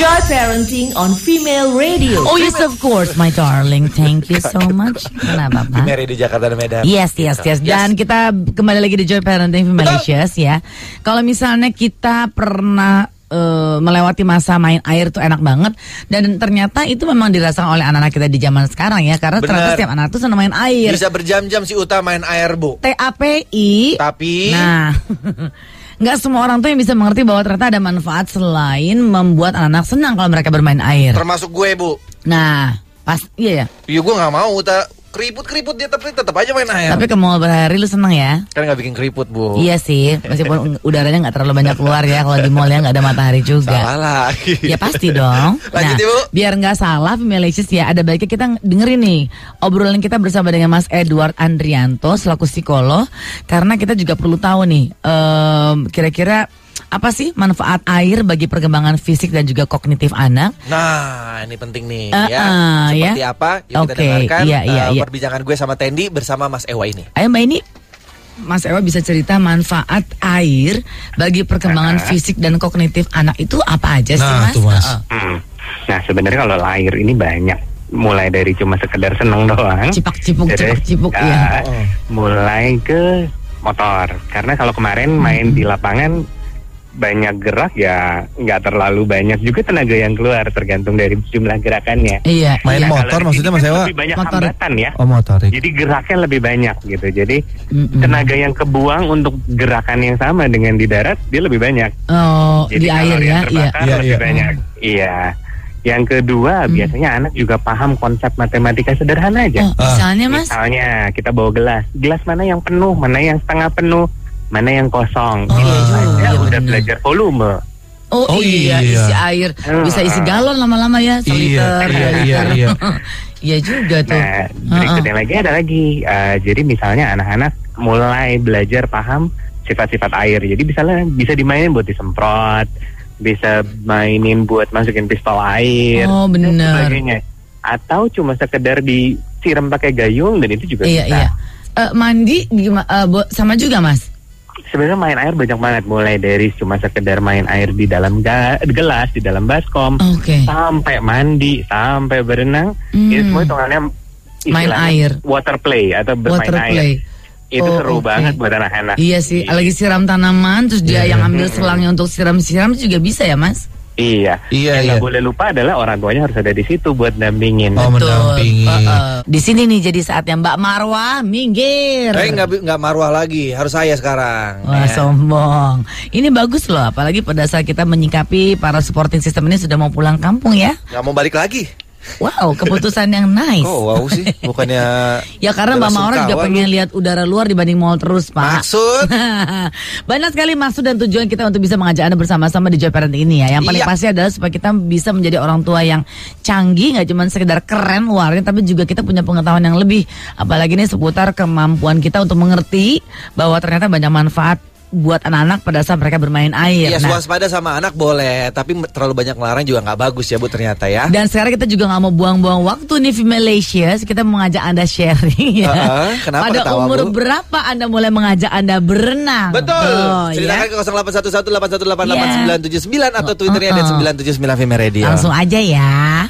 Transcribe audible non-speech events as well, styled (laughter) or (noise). Star Parenting on Female Radio. Oh yes, of course, my darling. Thank you (laughs) so much. Kenapa, Di Pak? Mary di Jakarta dan Medan. Yes, yes, yes. Dan kita kembali lagi di Joy Parenting from Malaysia ya. Kalau misalnya kita pernah eh, melewati masa main air tuh enak banget dan ternyata itu memang dirasakan oleh anak-anak kita di zaman sekarang ya karena ternyata Benar. setiap anak tuh senang main air. Bisa berjam-jam si Uta main air, Bu. TAPI Tapi Nah, (laughs) nggak semua orang tuh yang bisa mengerti bahwa ternyata ada manfaat selain membuat anak-anak senang kalau mereka bermain air. termasuk gue, Bu. Nah, pas iya ya. Ya gue nggak mau Uta keriput-keriput dia tapi tetap aja main air. Tapi ke mall berhari lu senang ya? Kan nggak bikin keriput, Bu. Iya sih, meskipun udaranya nggak terlalu banyak keluar ya kalau di mall ya nggak ada matahari juga. Salah lagi. Ya pasti dong. (laughs) Nah, Lanjut, Ibu. biar nggak salah Femilicious ya, ada baiknya kita dengerin nih obrolan kita bersama dengan Mas Edward Andrianto selaku psikolog karena kita juga perlu tahu nih em, kira-kira apa sih manfaat air bagi perkembangan fisik dan juga kognitif anak? Nah, ini penting nih Eh, ya. eh, Seperti ya. apa? Yuk kita Oke, dengarkan iya, iya, eh, iya. perbincangan gue sama Tendi bersama Mas Ewa ini. Ayo Mbak ini Mas Ewa bisa cerita manfaat air bagi perkembangan fisik dan kognitif anak itu apa aja sih Nah, Mas? tuh, Mas. Heeh. Hmm. Nah sebenarnya kalau air ini banyak mulai dari cuma sekedar seneng doang. Cipak-cipuk, Terus, cipak-cipuk, ah, iya. Mulai ke motor karena kalau kemarin main Hmm. di lapangan banyak gerak ya nggak terlalu banyak juga tenaga yang keluar tergantung dari jumlah gerakannya. Iya. Main iya. Kalau motor di maksudnya, sini Mas kan Ewa? Lebih banyak Motor. hambatan ya. Oh motor. Jadi geraknya lebih banyak gitu. Jadi Mm-mm. tenaga yang kebuang untuk gerakan yang sama dengan di darat dia lebih banyak. Oh, Jadi di air kalori ya, yang iya. Hmm. terbakar Iya, lebih iya. banyak. Iya. Yang kedua, biasanya anak juga paham konsep matematika sederhana aja. Oh, misalnya Mas, Iya. Misalnya kita bawa gelas, gelas mana yang penuh, mana yang setengah penuh, mana yang kosong. Oh, Ini aja iya udah benar. belajar volume. oh, Oh, iya, iya. isi air bisa isi galon lama-lama ya, Iya, seliter. iya, iya, iya. Iya juga tuh. Nah, Heeh. berikutnya lagi ada lagi. Eh, jadi misalnya anak-anak mulai belajar paham sifat-sifat air. Jadi misalnya bisa dimainin buat disemprot, bisa mainin buat masukin pistol air. Oh, dan benar. sebagainya. Atau cuma sekedar disiram pakai gayung dan itu juga Iya, bisa. iya. Eh, mandi gima- eh, bo- sama juga Mas. Sebenarnya main air banyak banget. Mulai dari cuma sekedar main air di dalam ga- gelas, di dalam baskom, Oke. sampai mandi, sampai berenang. Hmm. Itu semua hitungannya Main istilahnya air. water play atau bermain Water air. play. Itu Oh, seru oke. banget buat anak-anak. Iya sih, lagi siram tanaman terus dia Iya. yang ambil selangnya untuk siram-siram juga bisa ya, Mas? Iya. Iya, Yang iya. nggak boleh lupa adalah orang tuanya harus ada di situ buat dampingin. Oh Betul. mendampingi. Heeh. Di sini nih jadi saatnya Mbak Marwa minggir. Eh nggak bi- nggak maruah lagi, harus saya sekarang. Wah Ya. sombong. Ini bagus loh, apalagi pada saat kita menyikapi para supporting system ini sudah mau pulang kampung ya. Nggak mau balik lagi. Wow, keputusan yang nice. Kok Oh, wow (laughs) sih? Bukannya Ya karena Mbak Bela Maura juga sungkawa pengen lihat udara luar dibanding mall terus Pak Maksud? (laughs) Banyak sekali maksud dan tujuan kita untuk bisa mengajak Anda bersama-sama di Joy Parent ini ya Yang paling Iya. pasti adalah supaya kita bisa menjadi orang tua yang canggih nggak cuma sekedar keren luarnya Tapi juga kita punya pengetahuan yang lebih Apalagi ini seputar kemampuan kita untuk mengerti Bahwa ternyata banyak manfaat buat anak-anak pada saat mereka bermain air Iya, Nah, waspada sama anak boleh, tapi me- terlalu banyak melarang juga nggak bagus ya bu ternyata ya. Dan sekarang kita juga nggak mau buang-buang waktu nih Malaysia, kita mau ngajak anda sharing ya. Heeh, kenapa Pada ketawa, umur Bu? berapa anda mulai mengajak anda berenang? Betul. Tuh, Ceritakan ya. ke 0811 atau Twitternya Heeh. @979 FM Radio. Langsung aja ya.